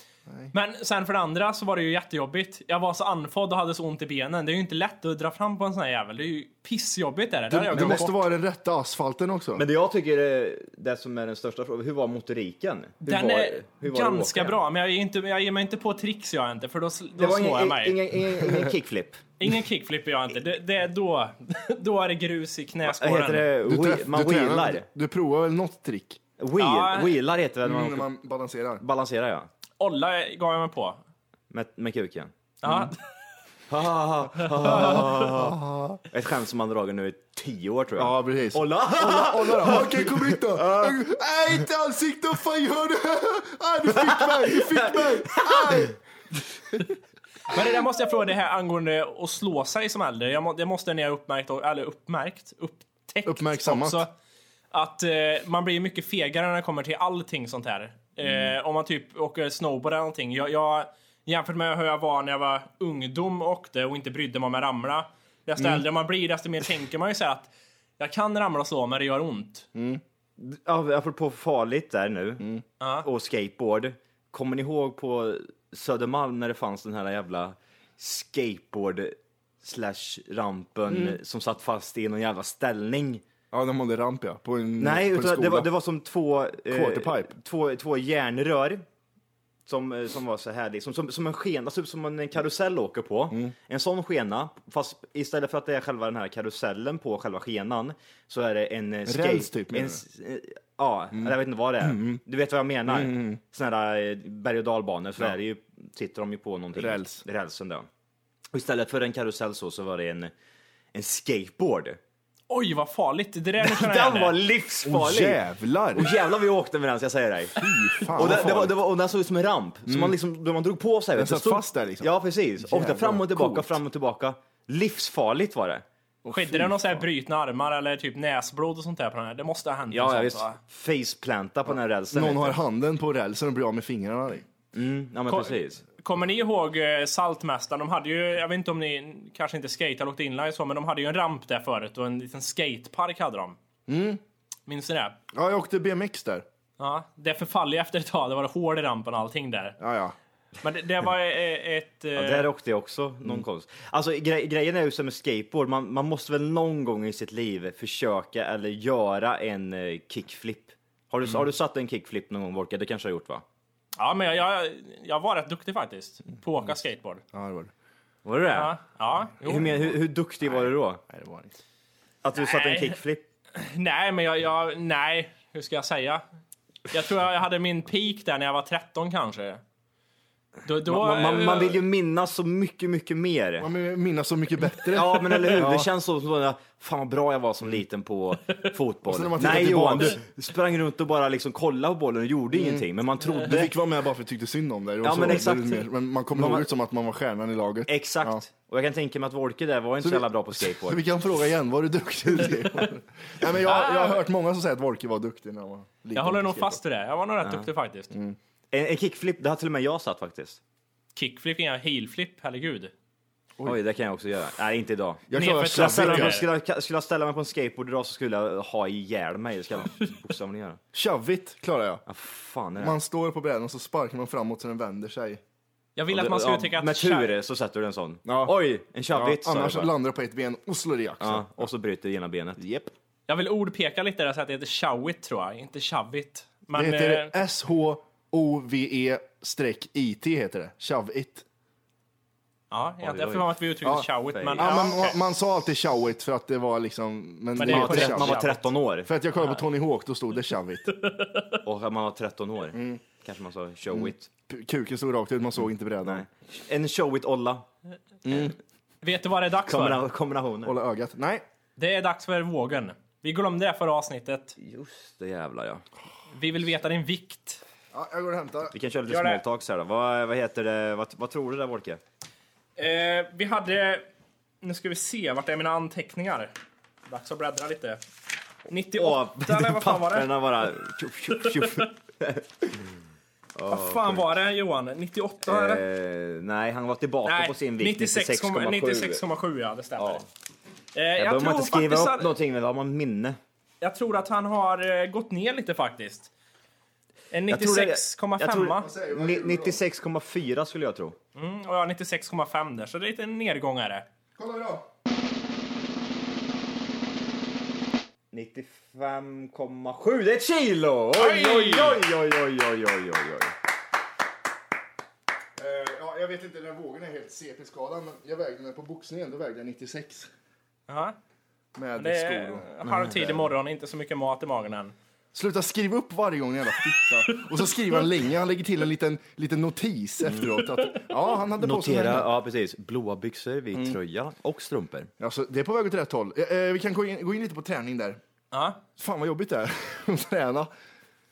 [SPEAKER 3] Men sen för det andra så var det ju jättejobbigt. Jag var så andfådd och hade så ont i benen. Det är ju inte lätt att dra fram på en sån här jävel. Det är ju pissjobbigt är det. det. hade
[SPEAKER 2] Det,
[SPEAKER 3] jag
[SPEAKER 2] det
[SPEAKER 3] glömt
[SPEAKER 2] måste
[SPEAKER 3] bort.
[SPEAKER 2] vara den rätta asfalten också.
[SPEAKER 6] Men det jag tycker är det som är den största frågan, hur var motoriken? Hur
[SPEAKER 3] Den
[SPEAKER 6] var,
[SPEAKER 3] är
[SPEAKER 6] hur var det att
[SPEAKER 3] ganska
[SPEAKER 6] åka?
[SPEAKER 3] bra, men jag, är inte, jag ger mig inte på tricks jag inte, för då, sl-
[SPEAKER 6] Det
[SPEAKER 3] då
[SPEAKER 6] var
[SPEAKER 3] slår jag
[SPEAKER 6] ingen,
[SPEAKER 3] mig.
[SPEAKER 6] ingen, ingen, ingen
[SPEAKER 3] *laughs*
[SPEAKER 6] kickflip.
[SPEAKER 3] Ingen kickflip gör jag inte. Det, det är då, *laughs* då är det grus i
[SPEAKER 6] Vad heter
[SPEAKER 3] knäskålen.
[SPEAKER 6] det?
[SPEAKER 2] du,
[SPEAKER 6] Whe-
[SPEAKER 2] träff,
[SPEAKER 6] man
[SPEAKER 2] du, tränar,
[SPEAKER 6] wheelar.
[SPEAKER 2] du, du provar väl något trick?
[SPEAKER 6] Wheel,
[SPEAKER 3] Ja. Mm.
[SPEAKER 6] Wheelar heter det när man
[SPEAKER 2] När
[SPEAKER 6] åker-
[SPEAKER 2] man balanserar.
[SPEAKER 6] balanserar ja.
[SPEAKER 3] Olla gav jag mig på.
[SPEAKER 6] Med, med kuken. Mm.
[SPEAKER 3] Ja.
[SPEAKER 6] Ett skämt som man dragit nu i tio år tror jag.
[SPEAKER 2] Ja, precis. *laughs*
[SPEAKER 6] Olla!
[SPEAKER 2] Kolla då. Okej, kom hit då. Nej, inte ansiktet. Vad fan gör du? *laughs* Aj, du fick mig. Du fick
[SPEAKER 6] *laughs*
[SPEAKER 2] mig. Aj.
[SPEAKER 3] Men det där måste jag fråga det här angående att slå sig som äldre. Jag må, det måste ni ha uppmärkt, och- eller uppmärkt, upptäckt
[SPEAKER 2] Uppmärksammat.
[SPEAKER 3] också. Att eh, man blir mycket fegare när det kommer till allting sånt här.
[SPEAKER 6] Mm.
[SPEAKER 3] Eh, om man typ åker snowboard eller någonting. Jag, jag, jämfört med hur jag var när jag var ungdom och åkte och inte brydde mig om jag ramlade. Desto
[SPEAKER 6] Mm.
[SPEAKER 3] äldre man blir, desto mer tänker man ju så här att jag kan ramla och slå men det gör ont.
[SPEAKER 6] Mm. Ja, apropå farligt där nu,
[SPEAKER 2] Mm.
[SPEAKER 6] och skateboard. Kommer ni ihåg på Södermalm när det fanns den här jävla skateboard slash rampen
[SPEAKER 3] Mm.
[SPEAKER 6] som satt fast i någon jävla ställning?
[SPEAKER 2] Ja, de hade ramp ja, på en,
[SPEAKER 6] Nej,
[SPEAKER 2] på en
[SPEAKER 6] utan
[SPEAKER 2] skola.
[SPEAKER 6] det var, det var som två, eh,
[SPEAKER 2] Quarterpipe.
[SPEAKER 6] två, två järnrör som, eh, som var så här, liksom, som, som en skena, typ som en karusell åker på.
[SPEAKER 2] Mm.
[SPEAKER 6] En sån skena, fast istället för att det är själva den här karusellen på själva skenan så är det en eh, skate...
[SPEAKER 2] Räls typ, menar Mm.
[SPEAKER 6] en, s- eh, Ja, eller jag vet inte vad det är. Du vet vad jag menar? Såna här eh, berg och dalbanor så är det ju, sitter de ju på någonting.
[SPEAKER 2] Räls.
[SPEAKER 6] Rälsen där. Och istället för en karusell så, så var det en, en skateboard.
[SPEAKER 3] Oj vad farligt,
[SPEAKER 6] *laughs*
[SPEAKER 3] det där nu känner jag
[SPEAKER 6] Den var
[SPEAKER 3] igen det.
[SPEAKER 6] livsfarlig!
[SPEAKER 2] Åh, jävlar.
[SPEAKER 6] Och jävlar vi åkte med den, så jag säger dig.
[SPEAKER 2] Fy fan,
[SPEAKER 6] Och
[SPEAKER 2] vad
[SPEAKER 6] den, det var,
[SPEAKER 2] farligt. Mm.
[SPEAKER 6] det var, och den såg ut som en ramp, så man, liksom, då man drog på sig. Den
[SPEAKER 2] satt fast där liksom.
[SPEAKER 6] Ja precis, åkte
[SPEAKER 2] Jävlar,
[SPEAKER 6] fram och tillbaka,
[SPEAKER 2] coolt.
[SPEAKER 6] fram och tillbaka. Livsfarligt var det.
[SPEAKER 3] Skedde det någon så här brutna armar eller typ näsblod och sånt där på den här? Det måste ha hänt något
[SPEAKER 6] Ja, jag
[SPEAKER 3] sånt,
[SPEAKER 6] visst.
[SPEAKER 3] va?
[SPEAKER 6] Liksom Faceplanta på den här rälsen.
[SPEAKER 2] Någon
[SPEAKER 6] vet
[SPEAKER 2] har
[SPEAKER 6] jag.
[SPEAKER 2] handen på rälsen och blir av med fingrarna. i.
[SPEAKER 6] Ja men
[SPEAKER 3] Ko-
[SPEAKER 6] precis.
[SPEAKER 3] Kommer ni ihåg eh, Saltmästaren? De hade ju, jag vet inte om ni kanske inte skate eller åkte inline så, men de hade ju en ramp där förut och en liten skatepark hade de.
[SPEAKER 6] Mm.
[SPEAKER 3] Minns ni det?
[SPEAKER 2] Ja, jag åkte BMX där.
[SPEAKER 3] Ja, det förfall ju efter ett tag. Det var hård i rampen och allting där.
[SPEAKER 2] Ja, ja.
[SPEAKER 3] Men det, det var eh, ett... eh,
[SPEAKER 6] Ja, där åkte jag också någon
[SPEAKER 2] Mm.
[SPEAKER 6] konst. Alltså gre- grejen är ju som med skateboard, man, man måste väl någon gång i sitt liv försöka eller göra en eh, kickflip. Har du, har
[SPEAKER 2] Mm.
[SPEAKER 6] du satt en kickflip någon gång Volker? Det kanske jag har gjort va?
[SPEAKER 3] Ja, men jag, jag, jag var rätt duktig faktiskt på att åka skateboard.
[SPEAKER 2] Ja, det var det.
[SPEAKER 6] Var det det?
[SPEAKER 3] Ja, ja jo.
[SPEAKER 6] Hur, men- hur, hur duktig var du då?
[SPEAKER 2] Nej, det var det inte.
[SPEAKER 6] Att du satte en
[SPEAKER 3] Nej.
[SPEAKER 6] kickflip?
[SPEAKER 3] Nej, men jag, jag... Nej, hur ska jag säga? Jag tror jag hade min peak där när jag var 13 kanske. Då, då, eh,
[SPEAKER 6] Man, man, man vill ju minnas så mycket, mycket mer.
[SPEAKER 2] Ja, men jag minns så mycket bättre.
[SPEAKER 6] Ja men eller hur, det känns så, så fan vad bra jag var som liten på
[SPEAKER 2] Mm.
[SPEAKER 6] fotboll.
[SPEAKER 2] sen när man tittar
[SPEAKER 6] Nej Johan,
[SPEAKER 2] tillbaks-
[SPEAKER 6] du- du sprang runt och bara liksom kollade på bollen och gjorde
[SPEAKER 2] Mm.
[SPEAKER 6] ingenting, men man
[SPEAKER 2] Du
[SPEAKER 6] trodde
[SPEAKER 2] fick vara med bara för att du tyckte synd om dig. Det var
[SPEAKER 6] Ja,
[SPEAKER 2] så
[SPEAKER 6] men
[SPEAKER 2] det
[SPEAKER 6] exakt.
[SPEAKER 2] är mer- Men man kommer
[SPEAKER 6] Man-
[SPEAKER 2] ihåg det som att man var stjärnan i laget.
[SPEAKER 6] Exakt.
[SPEAKER 2] Ja.
[SPEAKER 6] Och jag kan tänka mig att Wolke där var inte så,
[SPEAKER 2] vi-
[SPEAKER 6] jävla bra på
[SPEAKER 2] Så
[SPEAKER 6] skateboard.
[SPEAKER 2] vi kan fråga igen, var du duktig? i *laughs* det? Nej, men jag, jag har hört många som säger att Wolke var duktig när han var liten.
[SPEAKER 3] jag håller nog fast vid det. Jag var nog rätt duktig faktiskt.
[SPEAKER 6] Mm. En, en kickflip, det har till och med jag satt faktiskt.
[SPEAKER 3] Kickflip, inga heelflip, herregud.
[SPEAKER 6] Oj. det kan jag också göra. Nej, inte idag.
[SPEAKER 2] Jag klarar
[SPEAKER 3] Nerför ett
[SPEAKER 6] Skulle jag, ställa mig, på-
[SPEAKER 3] Shovit.
[SPEAKER 6] skulle, jag, skulle jag ställa mig på en skateboard idag så skulle jag ha ihjäl mig. Det ska jag bokstavligen göra.
[SPEAKER 2] Shovit klarar jag.
[SPEAKER 6] Ja, fan är det?
[SPEAKER 2] Man står på brädan och så sparkar man framåt så den vänder sig.
[SPEAKER 3] Jag vill att man ska
[SPEAKER 6] Ja,
[SPEAKER 3] uttrycka att...
[SPEAKER 6] Med
[SPEAKER 3] kär-
[SPEAKER 6] tur så sätter du en sån.
[SPEAKER 2] Ja.
[SPEAKER 6] Oj, en
[SPEAKER 2] Ja,
[SPEAKER 6] tjabbitt
[SPEAKER 2] annars
[SPEAKER 6] ja,
[SPEAKER 2] landar du på ett ben och slår i axeln.
[SPEAKER 6] ja, Och så bryter ena benet.
[SPEAKER 2] Japp.
[SPEAKER 3] Jag vill ordpeka lite där så att det heter showit tror jag, inte shavit.
[SPEAKER 2] Det
[SPEAKER 3] Men
[SPEAKER 2] heter
[SPEAKER 3] eh,
[SPEAKER 2] S-H-O-V-E E streck IT heter det. Shovit.
[SPEAKER 3] ja, jag
[SPEAKER 6] Oj,
[SPEAKER 3] jag
[SPEAKER 6] oj.
[SPEAKER 3] får för mig att vi uttrycker
[SPEAKER 2] Ja,
[SPEAKER 3] showit, men...
[SPEAKER 2] Ja, man,
[SPEAKER 3] okej.
[SPEAKER 2] man, man sa alltid showit för att det var liksom... Men,
[SPEAKER 3] det är
[SPEAKER 2] man,
[SPEAKER 6] Man var,
[SPEAKER 3] korrekt.
[SPEAKER 2] alltid
[SPEAKER 6] tre- man
[SPEAKER 2] shove
[SPEAKER 6] var
[SPEAKER 2] it.
[SPEAKER 6] 13 år.
[SPEAKER 2] För att jag kollade på Tony Hawk, då stod det shovit.
[SPEAKER 6] Och man var 13 år. Kanske man sa show it.
[SPEAKER 2] P- Kuken stod rakt ut, man såg inte brädan.
[SPEAKER 6] Nej. Mm. En show it-olla.
[SPEAKER 3] Vet du vad det är dags för?
[SPEAKER 6] Kombinationer.
[SPEAKER 2] Hålla ögat. Nej,
[SPEAKER 3] Det är dags för vågen. Vi glömde det förra avsnittet.
[SPEAKER 6] Just det jävlar ja.
[SPEAKER 3] Vi vill veta din vikt.
[SPEAKER 2] ja, jag går och hämtar.
[SPEAKER 6] Vi kan köra lite
[SPEAKER 3] Gör det.
[SPEAKER 6] small talks här då. Vad, vad heter det? Vad, vad tror du där Wolke?
[SPEAKER 3] Eh, vi hade... Nu ska vi se, vart är mina anteckningar? Dags att bläddra lite. 98 eller vad fan var
[SPEAKER 6] *laughs*
[SPEAKER 3] det?
[SPEAKER 6] Papperna bara... Tjup, tjup,
[SPEAKER 3] *laughs*
[SPEAKER 6] tjup.
[SPEAKER 3] Vad fan var det Johan? 98 eller?
[SPEAKER 6] eh, nej, han var tillbaka på sin vikt.
[SPEAKER 3] 96,7
[SPEAKER 6] 96,7.
[SPEAKER 3] 96,7 ja, det stämmer.
[SPEAKER 6] Ja.
[SPEAKER 3] Eh,
[SPEAKER 6] Där
[SPEAKER 3] jag,
[SPEAKER 6] behöver man
[SPEAKER 3] tror
[SPEAKER 6] inte skriva
[SPEAKER 3] faktiskt
[SPEAKER 6] upp
[SPEAKER 3] att,
[SPEAKER 6] någonting, men då har man minne.
[SPEAKER 3] jag tror att han har eh, gått ner lite faktiskt. En
[SPEAKER 6] Jag tror det-
[SPEAKER 3] 96,5
[SPEAKER 6] jag tror-
[SPEAKER 3] va?
[SPEAKER 6] Ni- 96,4 skulle jag tro.
[SPEAKER 3] Mm, och jag har 96,5 där, så det är lite en nedgång är det.
[SPEAKER 6] 95,7, det är ett kilo! Oj, oj, oj, oj, oj, oj, oj, oj, oj.
[SPEAKER 2] ja, jag vet inte, den här vågen är helt CP-skadad, men jag vägde den på boxningen, då vägde jag 96.
[SPEAKER 3] Jaha.
[SPEAKER 2] Med
[SPEAKER 3] Det
[SPEAKER 2] skor och...
[SPEAKER 3] är
[SPEAKER 6] Mm,
[SPEAKER 3] halvtid imorgon, inte så mycket mat i magen än.
[SPEAKER 2] Sluta skriva upp varje gång, jävla fitta. Och så skriver han länge, han lägger till en liten, liten notis efteråt. Att, ja, han hade på sig
[SPEAKER 6] Mm. Notera,
[SPEAKER 2] den här.
[SPEAKER 6] ja precis, blåa byxor, vit tröja och strumpor.
[SPEAKER 2] Alltså, det är på väg åt rätt håll. Eh, eh, vi kan gå in, gå in lite på träning där.
[SPEAKER 3] Ja.
[SPEAKER 2] Fan vad jobbigt det är *laughs* att träna.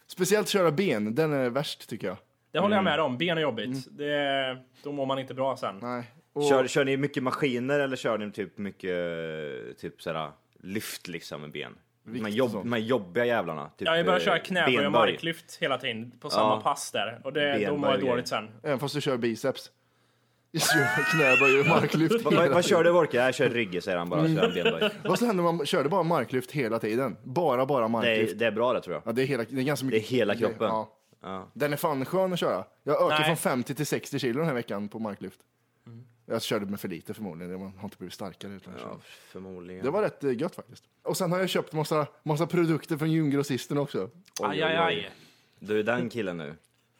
[SPEAKER 2] Speciellt köra ben, den är värst tycker jag.
[SPEAKER 3] Det håller jag
[SPEAKER 6] Mm.
[SPEAKER 3] med om, ben är jobbigt. Det, då mår man inte bra sen.
[SPEAKER 2] Nej. Och,
[SPEAKER 6] Kör, kör ni mycket maskiner eller kör ni typ mycket typ sådär, lyft liksom med ben? De här,
[SPEAKER 2] Vikt
[SPEAKER 6] jobb,
[SPEAKER 2] och sånt.
[SPEAKER 6] de här jobbiga jävlarna. Typ,
[SPEAKER 3] Ja, jag börjar
[SPEAKER 6] eh,
[SPEAKER 3] köra knäböj och
[SPEAKER 6] benböj.
[SPEAKER 3] marklyft hela tiden på samma
[SPEAKER 6] Ja.
[SPEAKER 3] pass där. Och det, då
[SPEAKER 6] Benböj
[SPEAKER 3] mår jag
[SPEAKER 6] och grejer.
[SPEAKER 3] dåligt sen.
[SPEAKER 2] Även fast du kör biceps. *laughs* Jag kör Knäböj och marklyft.
[SPEAKER 6] Vad- Vad,
[SPEAKER 2] hela tiden.
[SPEAKER 6] vad kör du Wolke? Jag kör rygge säger han bara. Så gör han benböj.
[SPEAKER 2] Vad så hände om man körde bara marklyft hela tiden? Bara, bara
[SPEAKER 6] Det,
[SPEAKER 2] marklyft.
[SPEAKER 6] är, det är bra det tror jag.
[SPEAKER 2] Ja, det, är hela, det är ganska mycket.
[SPEAKER 6] Det är hela kroppen.
[SPEAKER 2] Ja.
[SPEAKER 6] Ja.
[SPEAKER 2] Den är fan skön att köra. Jag ökade
[SPEAKER 3] Nej.
[SPEAKER 2] från 50 till 60 kilo den här veckan på marklyft. Jag körde med för lite förmodligen. Man har inte blivit starkare. Utan jag
[SPEAKER 6] Ja,
[SPEAKER 2] körde.
[SPEAKER 6] förmodligen.
[SPEAKER 2] Det var rätt eh, gött faktiskt. Och sen har jag köpt massa, massa produkter från gymgrossisten också.
[SPEAKER 6] Oj,
[SPEAKER 3] Aj,
[SPEAKER 6] oj,
[SPEAKER 3] aj,
[SPEAKER 6] oj.
[SPEAKER 3] aj.
[SPEAKER 6] Du är den killen nu.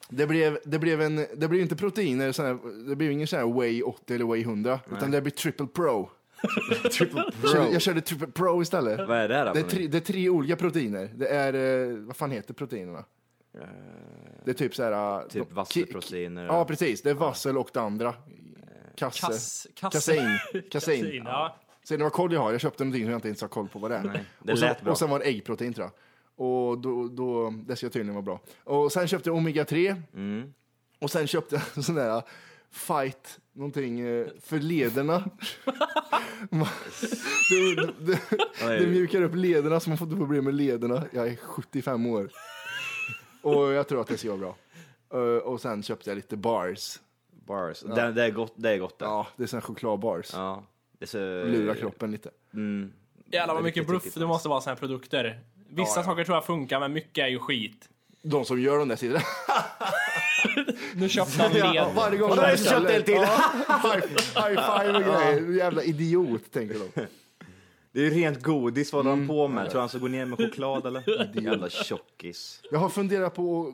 [SPEAKER 2] Det blev, det blev, en, det blev inte proteiner, sån här, det blev ingen sån här Way 80 eller Way 100, utan det blev Triple Pro.
[SPEAKER 6] *laughs* Triple
[SPEAKER 2] Jag körde, jag körde Triple Pro istället.
[SPEAKER 6] Vad är det då?
[SPEAKER 2] Det är, tre, det är tre olika proteiner. Det är, eh, vad fan heter proteinerna? Det är typ så här... eh,
[SPEAKER 6] Eh. Typ
[SPEAKER 2] de-
[SPEAKER 6] vasselproteiner.
[SPEAKER 2] ki- Ja, precis. Det är vassel och det andra. Kasse.
[SPEAKER 3] Kass- kasse- *laughs*
[SPEAKER 2] Kasein.
[SPEAKER 3] Kasin,
[SPEAKER 2] Kasein.
[SPEAKER 3] ja.
[SPEAKER 2] Ser ni vad koll jag har? Jag köpte någonting som jag inte ens har koll på vad det är.
[SPEAKER 6] det
[SPEAKER 2] och, sen,
[SPEAKER 6] lät bra.
[SPEAKER 2] och sen var det äggprotein tror jag. Och då, då, det ska tydligen vara bra. Och sen köpte jag Omega 3.
[SPEAKER 6] Mm.
[SPEAKER 2] Och sen köpte jag *laughs* en sån där uh, fight, någonting eh, för lederna.
[SPEAKER 6] *laughs*
[SPEAKER 2] Man- det, det, det, mjukar upp lederna så man får inte problem med lederna. Jag är 75 år. Och jag tror att det ska vara bra. Eh, Och sen köpte jag lite bars.
[SPEAKER 6] Bars. Det, det är gott det. Är gott, det. Ja.
[SPEAKER 2] Ja, det är sån här chokladbars.
[SPEAKER 6] Det är så...
[SPEAKER 2] Lura kroppen lite.
[SPEAKER 3] Jävlar vad
[SPEAKER 6] Det är
[SPEAKER 3] mycket
[SPEAKER 6] riktigt,
[SPEAKER 3] bluff
[SPEAKER 6] riktigt
[SPEAKER 3] det måste vara såna här produkter. Vissa saker tror jag funkar, men mycket är ju skit.
[SPEAKER 2] De som gör de där sitter
[SPEAKER 3] Nu köpte *laughs* han led.
[SPEAKER 2] Varje gång
[SPEAKER 6] Och då är det så
[SPEAKER 2] beställer-
[SPEAKER 6] köpt en till.
[SPEAKER 2] Ja, high, *laughs* high five och grejer. Jävla idiot, tänker de.
[SPEAKER 6] Det är ju rent godis, vad håller han på med? Tror han ska gå ner med choklad eller? Jävla tjockis.
[SPEAKER 2] Jag har funderat på